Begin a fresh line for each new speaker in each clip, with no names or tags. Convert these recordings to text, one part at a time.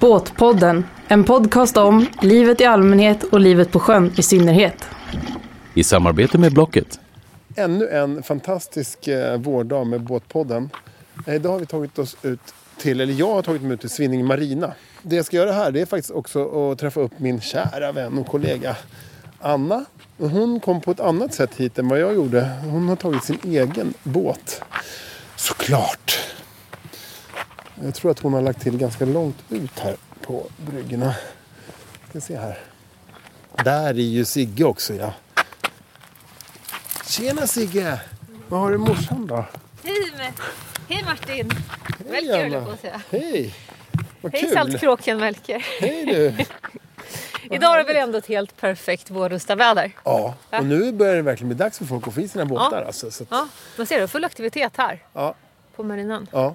Båtpodden, en podcast om livet i allmänhet och livet på sjön i synnerhet.
I samarbete med Blocket.
Ännu en fantastisk eh, vårdag med Båtpodden. Eh, Idag har vi tagit oss ut till, eller jag har tagit mig ut till Svinninge Marina. Det jag ska göra här det är faktiskt också att träffa upp min kära vän och kollega Anna. Och Hon kom på ett annat sätt hit än vad jag gjorde. Hon har tagit sin egen båt. Såklart! Jag tror att hon har lagt till ganska långt ut här på bryggorna. Ska se här. Där är ju Sigge också ja. Tjena Sigge! Vad har du i morsan då?
Hej, Hej Martin!
Anna.
Melker höll jag på att säga.
Hej! Vad
Hej
kul!
Saltkråkan Melker!
Hej du!
Idag har vi väl ändå ett helt perfekt vårrustaväder.
Ja, och nu börjar det verkligen bli dags för folk att få i sina båtar. Alltså, så att,
Ja, man ser det. Full aktivitet här
ja,
på marinan.
ja.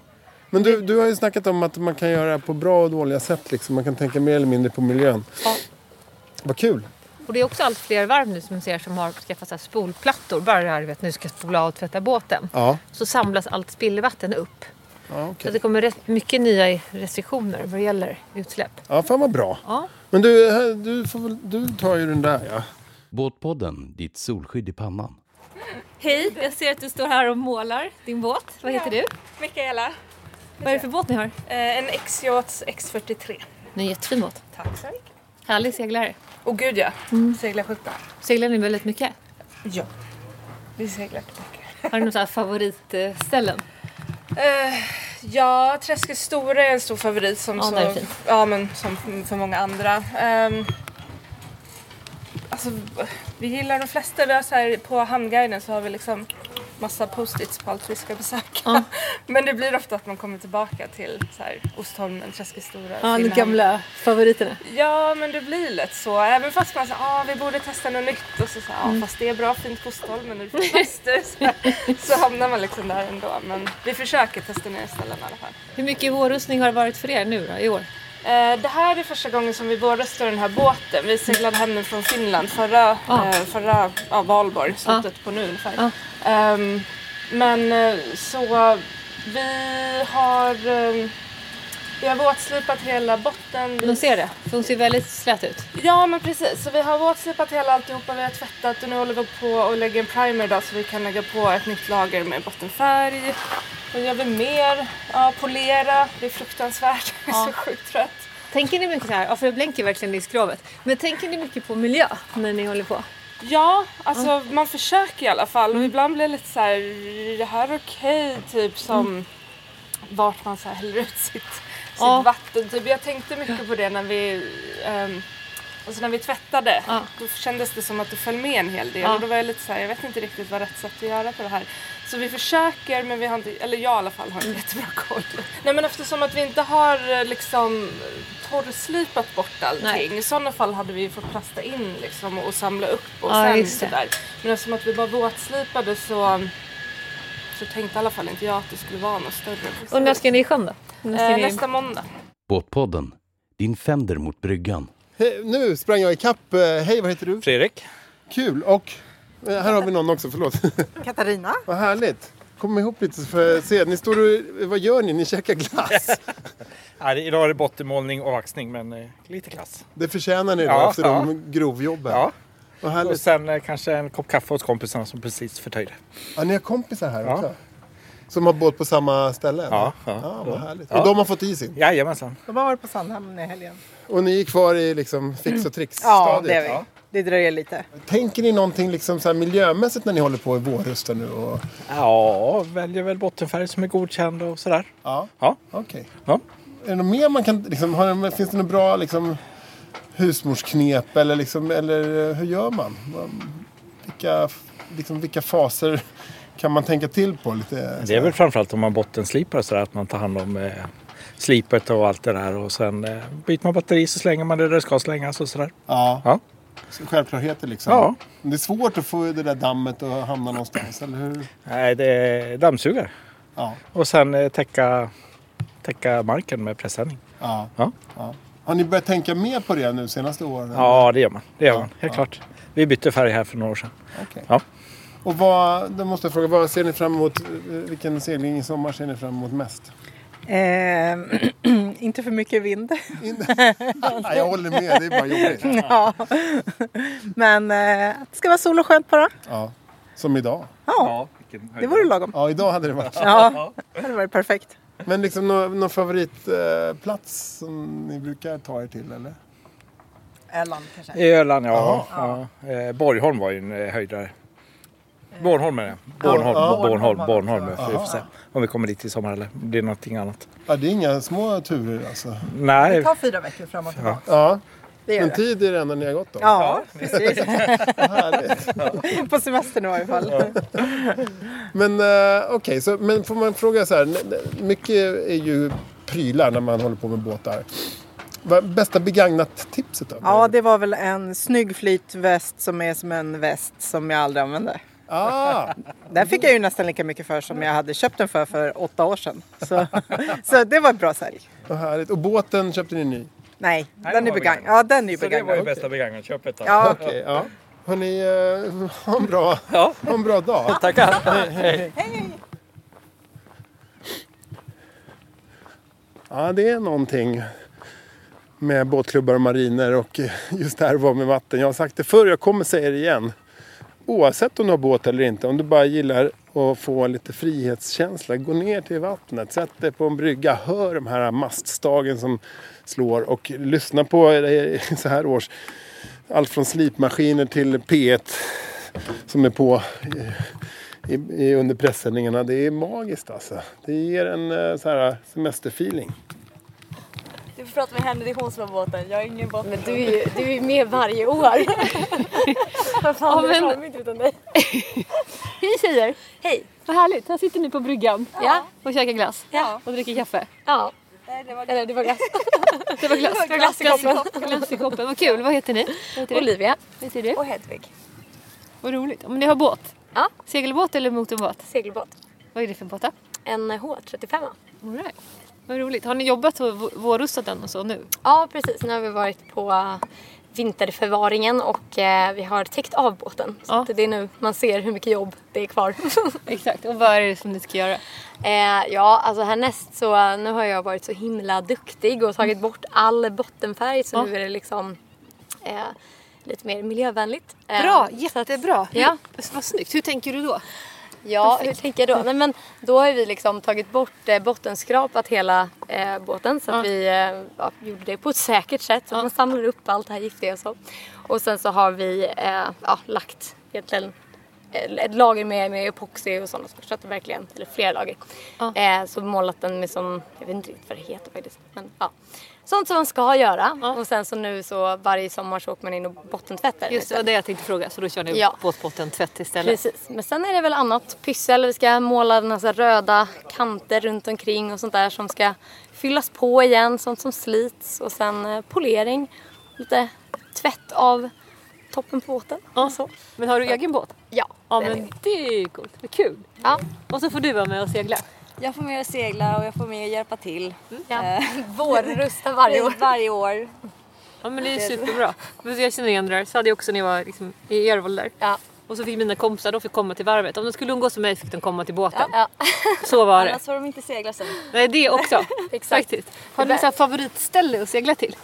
Men du, du har ju snackat om att man kan göra det här på bra och dåliga sätt. Liksom. Man kan tänka mer eller mindre på miljön.
Ja.
Vad kul!
Och det är också allt fler varv nu som ser som har skaffat så här spolplattor. Bara det här du vet, nu ska jag spola och tvätta båten.
Ja,
Så samlas allt spillvatten upp.
ja
Så
okej.
Alltså det kommer rätt mycket nya restriktioner vad det gäller utsläpp.
Ja, fan vad bra.
Ja,
Men du, här- du, får, väl- du tar ju den där ja.
Båtpodden, ditt solskydd i pannan.
Hej, jag ser att du står här och målar din båt. Vad heter du?
Mikaela, eh,
Vad är det för båt ni har?
en X-Yachts X43.
En jättefin båt.
Tack så mycket.
Härlig seglare.
Och gud ja, seglar sjukt bra.
Seglar ni väldigt mycket?
Ja. Vi seglar mycket.
Har du några favoritställen?
Eh, ja, Träskets Stora är en stor favorit som,
Ja,
så,
den är fin.
ja, men, som f- för många andra. Ehm, alltså, vi gillar de flesta. Vi har så här, på Hamnguiden så har vi liksom massa post-its på allt vi ska besöka. Men det blir ofta att man kommer tillbaka till så här, Ostholmen, Träskets Stora. Finnhamn.
favoriterna.
Ja, men det blir lätt så. Även fast man säger ah, vi borde testa något nytt och så säger ah, fast det är bra fint kosthåll men det är fantastiskt. så, här, så hamnar man liksom där ändå. Men vi försöker testa nya ställen i alla fall.
Hur mycket vårrustning har det varit för er nu då, i år?
Eh, det här är första gången som vi båda står i den här båten. Vi seglade hem den från Finland förra,
Ja.
eh, förra ja, valborg, slutet på nu ungefär. Ehm, men eh, så vi har ehm, vi har våtslipat hela botten. Vi
De ser det, för hon ser väldigt slät ut.
Ja men precis, så vi har våtslipat hela alltihopa, vi har tvättat och nu håller vi på och lägger en primer idag så vi kan lägga på ett nytt lager med bottenfärg. Vad gör vi mer? Ja, polera, det är fruktansvärt, jag är så sjukt trött.
Tänker ni mycket så här, ja för det blänker verkligen i skrovet, men tänker ni mycket på miljö när ni håller på?
Ja, alltså man försöker i alla fall och ibland blir det lite så här, är det här okej? Typ som vart man så här häller ut sitt,
Mm. Ja.
sitt vatten. Typ. Jag tänkte mycket på det när vi, ehm, alltså när vi tvättade.
Ja.
Då kändes det som att det föll med en hel del
Ja.
och då var jag lite så här, jag vet inte riktigt vad rätt sätt att göra på det här. Så vi försöker men vi har inte, eller jag i alla fall har
Mm.
inte jättebra koll. Nej men eftersom att vi inte har eh, liksom torrslipat bort allting. I sådana fall hade vi ju fått plasta in liksom och samla upp och
Ja,
sen
just det.
sådär. Men eftersom att vi bara våtslipade så, så tänkte i alla fall inte jag att det skulle vara något större.
Och när ska ni i sjön då? När ska
eh,
ni-
nästa måndag.
Båtpodden, din fender mot bryggan.
Hej, nu sprang jag ikapp. Eh, Hej, vad heter du?
Fredrik.
Kul! Och eh, här har vi någon också, förlåt.
Katarina.
Vad härligt. Kom ihop lite så får jag se. Ni står och, eh, vad gör ni? Ni käkar glass.
Ja, det- idag är det bottenmålning och vaxning, men eh, lite klass.
Det förtjänar ni då
Ja,
efter
ja.
de grovjobben.
Ja.
Vad
Och
härligt.
sen eh, kanske en kopp kaffe åt kompisarna som precis förtöjde.
Ja, ni har kompisar här
Ja.
också? Som har båt på samma ställe? eller?
Ja, ja.
ja vad härligt.
Ja.
Och de har fått i sin?
Jajamensan.
De har varit på Sandhamn i helgen.
Och ni är kvar i liksom fix och
Ja, det
tricks-stadiet?
är vi. Det dröjer lite.
Tänker ni någonting liksom så här miljömässigt när ni håller på i vårrusten nu? Och...
Ja, väljer väl bottenfärg som är godkänd och sådär.
Ja,
Ja.
okej.
ja.
Är det något mer man kan... Liksom, har, det- finns det något bra liksom, husmorsknep? Eller, liksom, eller hur gör man? Vad- Vilka, liksom, vilka faser kan man tänka till på? Lite,
Det är väl framförallt om man bottenslipar och sådär, att man tar hand om eh, slipet och allt det där. Och sen eh, byter man batteri så slänger man det där det ska slängas och sådär.
Ja,
Ja.
självklarheter liksom.
Ja.
Det är svårt att få det där dammet att hamna någonstans, eller hur?
Nej, det är dammsugare.
Ja.
Och sen eh, täcka, täcka marken med presenning.
ja,
Ja.
ja. Har ni börjat tänka mer på det nu senaste åren?
Ja, det gör man. Det gör
Ja,
man. Helt
ja.
klart. Vi bytte färg här för några år sedan.
Okej.
Ja.
Och vad, då måste jag fråga, vad ser ni fram emot, eh, vilken segling i sommar ser ni fram emot mest?
Ehm, inte för mycket vind.
In... Nej, jag håller med, det är bara jobbigt.
Ja. Men eh, att det ska vara sol och skönt bara.
Ja. Som idag.
Ja,
Ja, vilken
det
höjd.
vore lagom.
Ja, idag hade det varit.
Ja, det hade varit perfekt.
Men liksom någon, någon favoritplats som ni brukar ta er till eller?
Öland kanske.
Öland, ja. ja. Eh, Borgholm var ju en eh, höjdare.
Eh,
Bornholm är det. Bornholm,
Ja,
Bornholm, Bornholm.
alltså.
eh,
Bornholm
Vi får se om vi kommer dit i sommar eller det är någonting annat.
Ja, det är inga små turer alltså.
Nej,
Ta fyra veckor fram och tillbaka.
Ja,
Det gör
men
det.
tid är det enda ni har gått då?
Ja, precis.
Härligt.
På semestern i varje fall.
Men eh, okej, så- men får man fråga så här. n- n- Mycket är ju prylar när man håller på med båtar. Vad- Bästa begagnat-tipset då?
Ja, det var väl en snygg flytväst som är som en väst som jag aldrig använde.
Ah,
Där fick jag ju nästan lika mycket för som jag hade köpt den för för åtta år sedan. Så, så det var ett bra sälj.
vad härligt. Och båten köpte ni ny?
Nej,
den
den är
var
begagnad.
begagnad.
Ja, den är ju
så det var ju
begagnad.
bästa begagnatköpet. då.
Ja,
Okej, ja. Hörni, eh, ha en bra,
Ja.
ha en bra dag.
Tackar.
Ja, det är någonting med båtklubbar och mariner och just det här var med vatten. Jag har sagt det förr, jag kommer säga det igen. Oavsett om du har båt eller inte, om du bara gillar att få lite frihetskänsla, gå ner till vattnet, sätt dig på en brygga, hör de här maststagen som slår och lyssna på eh, så här års allt från slipmaskiner till P1 som är på eh, i, i, under pressändningarna. Det är magiskt alltså. Det ger en eh, så här semesterfeeling.
Du får prata med henne, det är hon som har båten. Jag har ingen båt.
Men du är ju du är ju med varje år.
Vad fan,
Ja,
jag
men-
klarar mig inte utan dig.
Hej tjejer!
Hej!
Vad härligt, här sitter ni på bryggan
Ja.
och käkar glass
Ja.
och dricker kaffe.
ja. Nej, det var
Eller det var glass. det var glass.
Det var glass i koppen.
Glass i koppen. Vad kul, vad heter ni? Vad heter du?
Olivia
Vad heter du?
och Hedvig.
Vad roligt. Om ni har båt?
Ja.
Segelbåt eller motorbåt?
Segelbåt.
Vad är det för båt då?
En eh, H35.
All right. Vad roligt. Har ni jobbat och v- vårrustat den och så nu?
Ja, precis. Nu har vi varit på eh, vinterförvaringen och eh, vi har täckt av båten. Så
Ja.
att det är nu man ser hur mycket jobb det är kvar.
Exakt. Och vad är det som ni ska göra?
Eh, ja, alltså härnäst så eh, nu har jag varit så himla duktig och tagit bort all bottenfärg så
Ja.
nu är det liksom eh, lite mer miljövänligt. Eh,
Bra,
så att-
jättebra.
Ja.
Hur- Vad snyggt. Hur tänker du då?
Ja, hur tänker jag då? Nej, men då har vi liksom tagit bort eh, bottenskrapat hela eh, båten så att
Ja.
vi eh, ja, gjorde det på ett säkert sätt så att man samlar upp allt det här giftiga och så. Och sen så har vi eh, ja, lagt egentligen eh, ett lager med, med epoxy och sådana saker så att det verkligen, eller flera lager.
Ja.
Eh, så målat den med sån, jag vet inte riktigt vad det heter faktiskt. Men, ja. Sånt som man ska göra
Ja.
och sen så nu så varje sommar så åker man in och bottentvättar.
Just det, var
lite.
det jag tänkte fråga. Så då kör ni
Ja.
båtbotten tvätt istället?
Precis, men sen är det väl annat pyssel. Vi ska måla en massa röda kanter runt omkring och sånt där som ska fyllas på igen, sånt som slits och sen eh, polering, lite tvätt av toppen på båten.
Ja.
och Så.
Men har du egen båt?
Ja,
Ja
det är
men det är ju coolt, vad kul!
det. ja.
Och så får du vara med och segla.
Jag får med att segla och jag får med att hjälpa till. Eh,
ja. Mm. Vårrusta varje år.
Varje år.
Ja men det är superbra. Men Jag känner igen det där, så hade jag också när jag var liksom, i er ålder.
Ja.
Och så fick mina kompisar, de fick komma till varvet. Om de skulle umgås med mig fick de komma till båten.
Ja.
Så var det.
Annars får de inte segla sen.
Nej det också.
Exakt.
Faktiskt. Har du något favoritställe att segla till?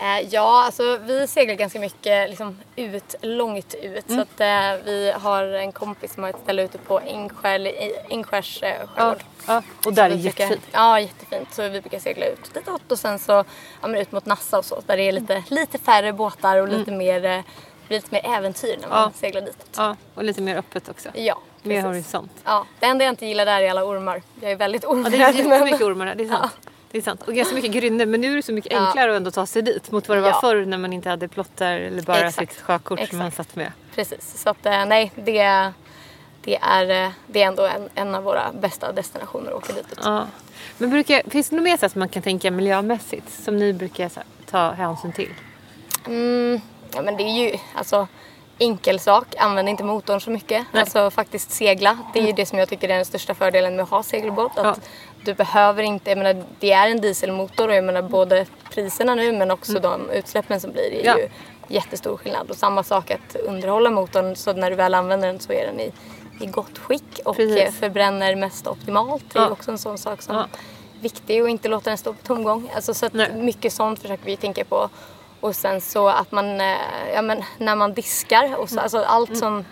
Eh, ja, alltså vi seglar ganska mycket liksom, ut, långt ut.
Mm.
Så att eh, vi har en kompis som har ett ställe ute på Ängskäl, i Ängskärs eh, skärgård.
Ja. ja. Och där är
Vi brukar-
jättefint.
Ja, jättefint. Så vi brukar segla ut ditåt och sen så ja, men ut mot Nassa och så där det är
Mm.
lite, lite färre båtar och lite mer, eh, blir lite mer äventyr när man
Ja.
seglar dit.
Ja. Och lite mer öppet också.
Ja,
Mer
precis.
horisont.
Ja, det enda jag inte gillar där är alla ormar. Jag är väldigt
Ja, det är
ormrädd.
jättemycket ormar där, det är sant. Det är sant. Och ganska mycket grynnor men nu är det så mycket
Ja.
enklare att ändå ta sig dit mot vad det var
Ja.
förr när man inte hade plottar eller bara
Exakt.
sitt sjökort som
Exakt.
man satt med.
Precis, så att eh, nej, det, det, är, eh, det är ändå en, en av våra bästa destinationer att åka ditåt.
Ja. Men brukar, finns det något mer så här som man kan tänka miljömässigt som ni brukar så här, ta hänsyn till?
Mm, ja, men det är ju alltså, enkel sak. Använd inte motorn så mycket. Alltså faktiskt segla. Det är ju det som jag tycker är den största fördelen med att ha segelbåt. Att
Mm. Ja.
Du behöver inte, jag menar, det är en dieselmotor och jag menar både priserna nu men också de utsläppen som blir. Det är
Mm. Ja.
ju jättestor skillnad. Och samma sak att underhålla motorn så när du väl använder den så är den i, i gott skick och
Precis.
eh, förbränner mest optimalt. Det är
Ja.
också en sån sak som
Ja.
viktig och inte låta den stå på tomgång. Alltså, så att mycket sånt försöker vi tänka på. Och sen så att man, eh, ja, men när man diskar, och så,
Mm.
alltså allt som,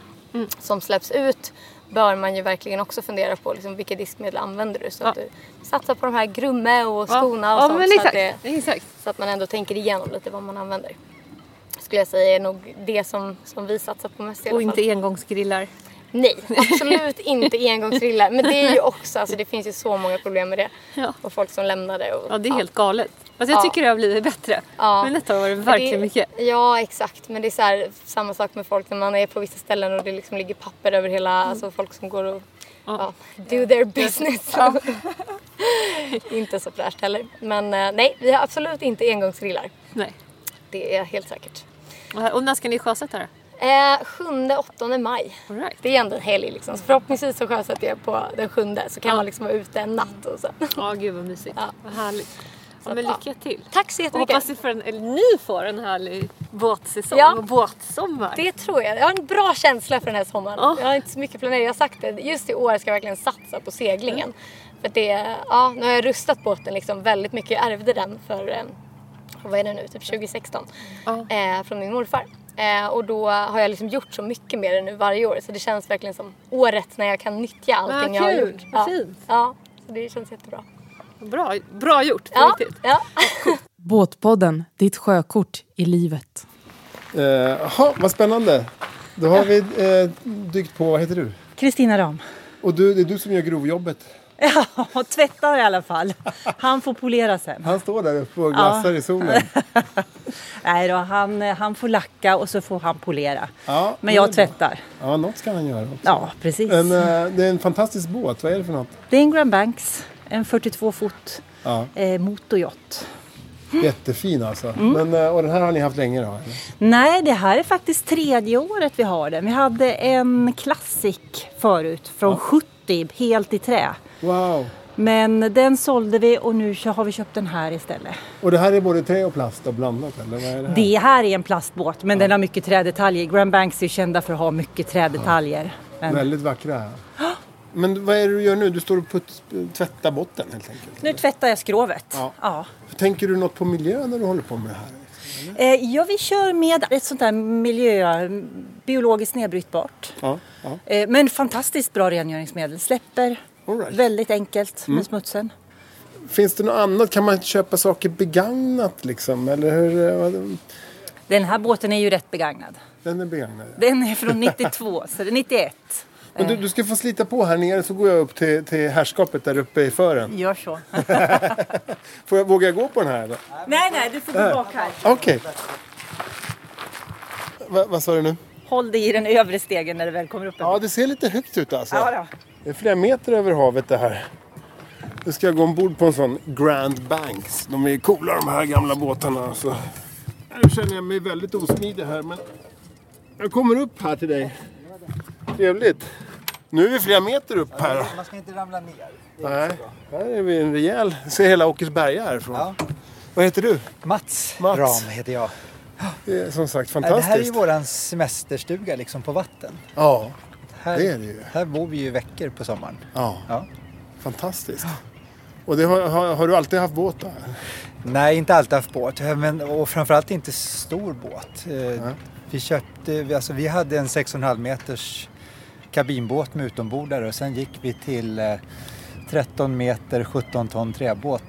som släpps ut bör man ju verkligen också fundera på liksom, vilka diskmedel använder du? Så att du satsar på de här Grumme och skorna och
Ja,
sånt.
men
så, att
exakt,
så att man ändå tänker igenom lite vad man använder. Skulle jag säga är nog det som, som vi satsar på mest i alla
Och
fall.
inte engångsgrillar.
Nej, absolut inte engångsgrillar. Men det är ju också, alltså det finns ju så många problem med det. Och folk som lämnar det. Och,
Ja, det är helt galet. Alltså, jag
Ja.
tycker det har blivit bättre.
Ja.
Men detta var det
Men
verkligen mycket.
Ja, exakt. Men det är så här, samma sak med folk när man är på vissa ställen och det liksom ligger papper över hela, alltså folk som går och ja. do their business. inte så fräscht heller. Men eh, nej, vi har absolut inte engångsgrillar.
Nej.
Det är helt säkert.
Och när ska ni sjösätta då?
Eh, 7-8 maj. Det är ändå en helg liksom. Så förhoppningsvis så sjösätter jag på den sjunde så kan man liksom vara ute en natt och så.
Ja, gud vad mysigt. Vad härligt.
Så
Ja,
att,
men
ja.
lycka till.
Tack så
Och
jättemycket.
hoppas ni får en, eller ni får en härlig båtsäsong
Ja.
och båtsommar.
Det tror jag. Jag har en bra känsla för den här sommaren.
Ja.
Jag har inte så mycket planering. Jag har sagt det. Just i år ska jag verkligen satsa på seglingen. För att det, ja, nu har jag rustat båten liksom väldigt mycket. Jag ärvde den för, eh, vad är det nu, typ 2016. Eh, från min morfar. Eh, och då har jag liksom gjort så mycket med den nu varje år. Så det känns verkligen som året när jag kan nyttja allting jag har
Ah, kul.
gjort.
Vad
Ja.
fint.
Ja, så det känns jättebra.
Bra, bra gjort, på
Ja,
riktigt.
ja.
Båtpodden, ditt sjökort i livet.
Eh, Jaha, vad spännande. Då har vi eh, dykt på, vad heter du?
Kristina Ram.
Och du, det är du som gör grovjobbet.
Och tvättar i alla fall. Han får polera sen.
Han står där uppe och glassar
Ja.
i solen.
Nej då, han, han får lacka och så får han polera.
Ja,
Men
det
jag
är bra.
tvättar.
Ja, något ska han göra också.
Ja, precis.
Men, eh, det är en fantastisk båt. Vad är det för något?
Det är en Grand Banks, en 42 fot
Ja.
eh, motorjott. Mm.
Jättefin alltså. Men, eh, och den här har ni haft länge då? Eller?
Nej, det här är faktiskt tredje året vi har den. Vi hade en klassik förut från 70, helt i trä.
Wow!
Men den sålde vi och nu kö- har vi köpt den här istället.
Och det här är både trä och plast och blandat eller? Vad är det här?
Det här är en plastbåt men den har mycket trädetaljer. Grand Banks är kända för att ha mycket trädetaljer. Men
Väldigt vackra. Men vad är det du gör nu? Du står och putt, tvättar botten helt enkelt.
nu tvättar jag skrovet.
Ja.
Ja.
Tänker du något på miljön när du håller på med det här?
Eh, ja, vi kör med ett sånt där miljö, biologiskt nedbrytbart.
Ja. ja.
Eh, men fantastiskt bra rengöringsmedel. Släpper väldigt enkelt
Mm.
med smutsen.
Finns det något annat? Kan man köpa saker begagnat liksom? Eller hur? eh, vad-
Den här båten är ju rätt begagnad.
Den är begagnad. ja.
Den är från 92, så det är 91.
Men du, du ska få slita på här nere så går jag upp till, till herrskapet där uppe i fören.
Gör så.
Får jag, vågar jag gå på den här? eller?
nej, nej, du får gå
Där.
bak här.
Okej. Va, vad sa du nu?
Håll dig i den övre stegen när du väl kommer upp.
Ja, det ser lite högt ut alltså.
Ja, då.
Det är flera meter över havet det här. Nu ska jag gå ombord på en sån Grand Banks. De är coola de här gamla båtarna. Alltså. Nu känner jag mig väldigt osmidig här men jag kommer upp här till dig. Trevligt. Nu är vi flera meter upp här.
Man ska inte ramla ner.
Nej, här är vi en rejäl... Ser hela Åkersberga härifrån. Vad heter du?
Mats,
Mats.
Ram heter jag.
Det är som sagt
Nej, Det
fantastiskt.
här är ju våran semesterstuga liksom på vatten.
Ja,
Här,
det är det ju.
Här bor vi ju veckor på sommaren.
Ja. Fantastiskt. Och det har, har, har du alltid haft båt då?
Nej, inte alltid haft båt. Men, och framförallt inte stor båt. Eh, Vi köpte, vi- alltså vi hade en 6,5 meters kabinbåt med utombordare och sen gick vi till eh, 13 meter 17 ton träbåt.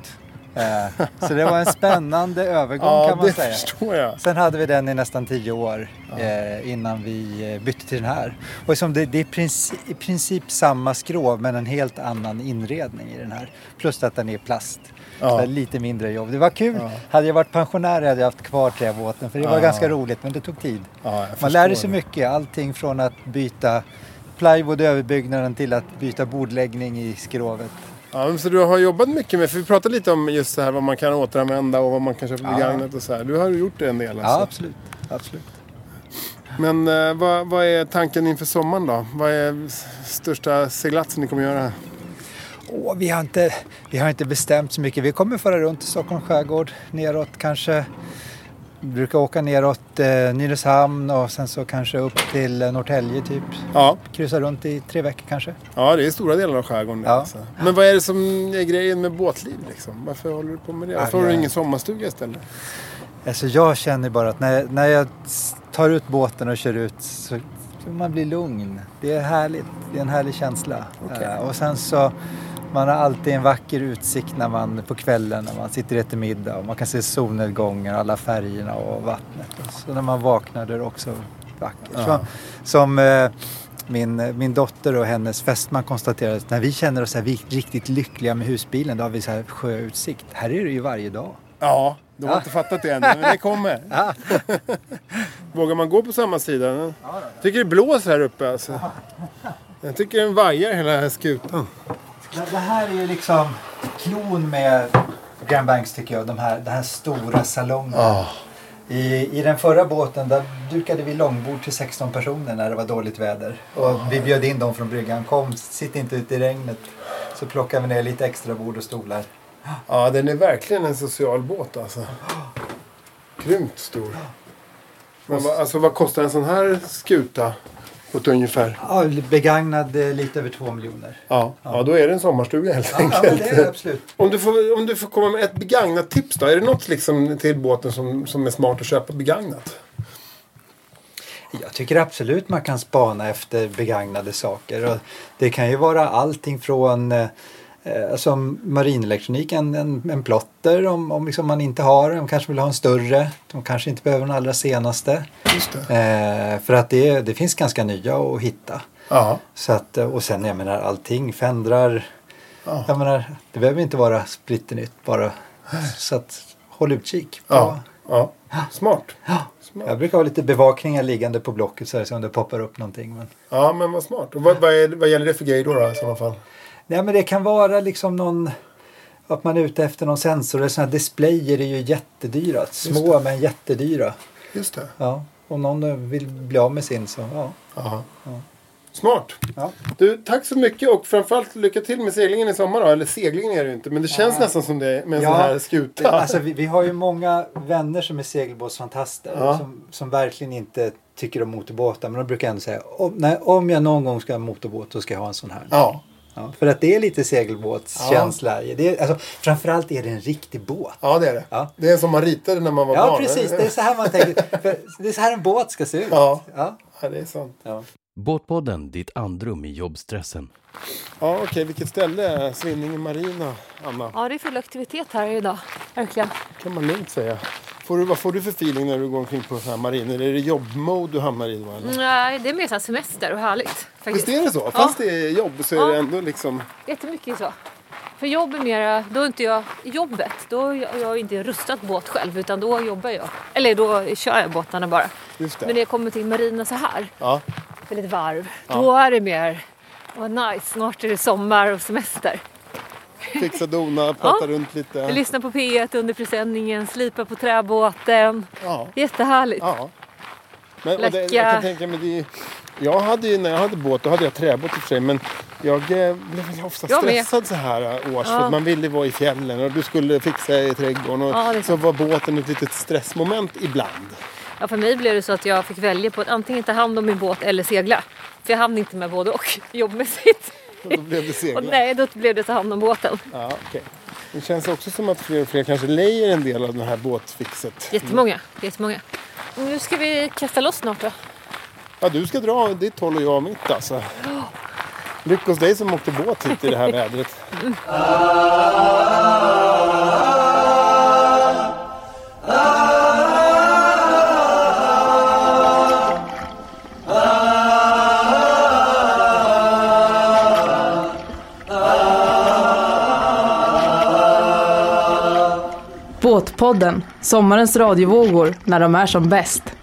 Eh, så det var en spännande övergång
Ja,
kan man
det
säga.
förstår jag.
Sen hade vi den i nästan 10 år eh, innan vi eh, bytte till den här. Och som det, det är princi- i princip samma skrov men en helt annan inredning i den här. Plus att den är plast.
Ja.
Så det är lite mindre jobb. Det var kul. Hade jag varit pensionär hade jag haft kvar träbåten för det var
Ja.
ganska roligt men det tog tid.
Ja, jag
Man lärde sig
förstår.
mycket. Allting från att byta plywood i överbyggnaden till att byta bordläggning i skrovet.
Ja, men så du har jobbat mycket med, för vi pratade lite om just så här vad man kan återanvända och vad man kan köpa
Ja.
begagnat och så här. Du har ju gjort det en del alltså.
Ja, absolut. absolut.
Men eh, vad, vad är tanken inför sommaren då? Vad är s- största seglatsen ni kommer göra?
Åh, vi, har inte, vi har inte bestämt så mycket. Vi kommer föra runt i Stockholms skärgård neråt kanske brukar åka neråt eh, Nynäshamn och sen så kanske upp till eh, Norrtälje typ.
Ja.
Kryssa runt i tre veckor kanske.
Ja, det är stora delar av skärgården. Alltså. Men vad är det som är grejen med båtliv liksom? Varför håller du på med det?
Ja,
Varför har du
jag-
ingen sommarstuga istället?
Alltså jag känner bara att när, när jag s- tar ut båten och kör ut så man blir lugn. Det är härligt. Det är en härlig känsla.
Okej.
Eh, och sen så, man har alltid en vacker utsikt när man, på kvällen när man sitter och äter middag och man kan se solnedgången och alla färgerna och vattnet. Och så när man vaknar där också vackert.
Ja.
Som, som eh, min, min dotter och hennes fästman konstaterade att när vi känner oss så här, vi- riktigt lyckliga med husbilen då har vi så här sjöutsikt. Här är det ju varje dag.
Ja, de har inte fattat det än, men det kommer. Vågar man gå på samma sida? Jag tycker det blåser här uppe alltså. Jag tycker den vajar hela skutan.
Det, det här är ju liksom klon med Grand Banks tycker jag. De här, den här stora salongen.
Ah.
I, I den förra båten där dukade vi långbord till 16 personer när det var dåligt väder. Och vi bjöd in dem från bryggan. Kom, sitt inte ute i regnet. Så plockade vi ner lite extra bord och stolar.
Ja, den är verkligen en social båt alltså. Grymt stor. Men, vad- alltså, vad kostar en sån här skuta? På ett ungefär.
Ja, begagnad eh, lite över 2 miljoner.
Ja, ja, då är det en sommarstuga helt
Ja, ja,
enkelt.
men det är det absolut.
Om du, får, om du får komma med ett begagnat tips då? Är det något liksom till båten som, som är smart att köpa begagnat?
Jag tycker absolut man kan spana efter begagnade saker. Och det kan ju vara allting från eh, eh, som marinelektronik, en, en, en plotter om, om liksom man inte har. De kanske vill ha en större. De kanske inte behöver den allra senaste. Eh, för att det, det finns ganska nya att hitta.
Ja.
Så att, eh, och sen jag menar allting, fendrar.
Ja.
Jag menar, det behöver inte vara splitternytt bara. Så att håll utkik.
Ja, ja. Smart.
Jag brukar ha lite bevakningar liggande på blocket så här, så om det poppar upp någonting. Men...
Ja, men vad smart. Och vad, vad, är, vad gäller det för grej då, då i sådana fall?
Nej, men det kan vara liksom någon att man är ute efter någon sensor. Eller såna här displayer är ju jättedyra. Små men jättedyra.
Just det.
Ja. Om någon eh, vill bli av med sin så ja.
Aha.
Ja.
Smart. Du, tack så mycket och framförallt lycka till med seglingen i sommar då. Eller seglingen är det ju inte, men det känns nästan som det är med en sån här skuta.
Alltså, vi, vi har ju många vänner som är segelbåtsfantaster
Ja.
som, som verkligen inte tycker om motorbåtar. Men de brukar ändå säga om, nej, om jag någon gång ska ha en motorbåt då ska jag ha en sån här.
Ja.
Ja, för att det är lite segelbåtskänsla. i Det är, alltså, framförallt är det en riktig båt.
Ja, det är det. Det är som man ritade när man var
Ja,
barn.
precis. Det är så här man tänker. För det är så här en båt ska se ut.
Ja.
Ja.
Ja, det är sant.
Ja.
Båtpodden, ditt andrum i jobbstressen.
Ja, okej. Vilket ställe? är Svinninge Marina, Anna.
Ja, det är full aktivitet här idag. Verkligen.
kan man lugnt säga. Får du, vad får du för feeling när du går omkring på såna här mariner? Är det jobbmode du hamnar i då? Eller?
Nej, det är mer så här semester och härligt. Faktiskt.
Visst är det så? Fast det är jobb så är det ändå liksom...
Jättemycket så. För jobb är mera, då är inte jag i jobbet, då är jag, jag har inte rustat båt själv utan då jobbar jag. Eller då kör jag båtarna bara.
Just det.
Men när jag kommer till marina så här,
Ja.
för lite varv,
Ja.
då är det mer, vad nice, snart är det sommar och semester.
Fixa, dona, prata
Ja.
runt lite.
Jag lyssnar på P1 under presenningen, slipar på träbåten. Jättehärligt.
Ja. Men, och det, jag kan tänka mig det, jag hade ju, när jag hade båt, då hade jag träbåt i och för sig. Men jag eh, blev väl ofta
Jag med.
stressad så här eh, års.
Ja.
För att man ville vara i fjällen och du skulle fixa i trädgården. Och
Ja, det är
så var båten ett litet stressmoment ibland.
Ja, för mig blev det så att jag fick välja på att antingen ta hand om min båt eller segla. För jag hann inte med både och jobbmässigt.
Och då blev det segla.
Och nej, då blev det ta hand om båten.
Ja, okej. Det känns också som att fler och fler kanske lejer en del av det här båtfixet.
Jättemånga, jättemånga. Nu ska vi kasta loss snart då.
Ja, du ska dra ditt håll och jag mitt alltså. Lycka hos dig som åkte båt hit i det här vädret.
Båtpodden, sommarens radiovågor när de är som bäst.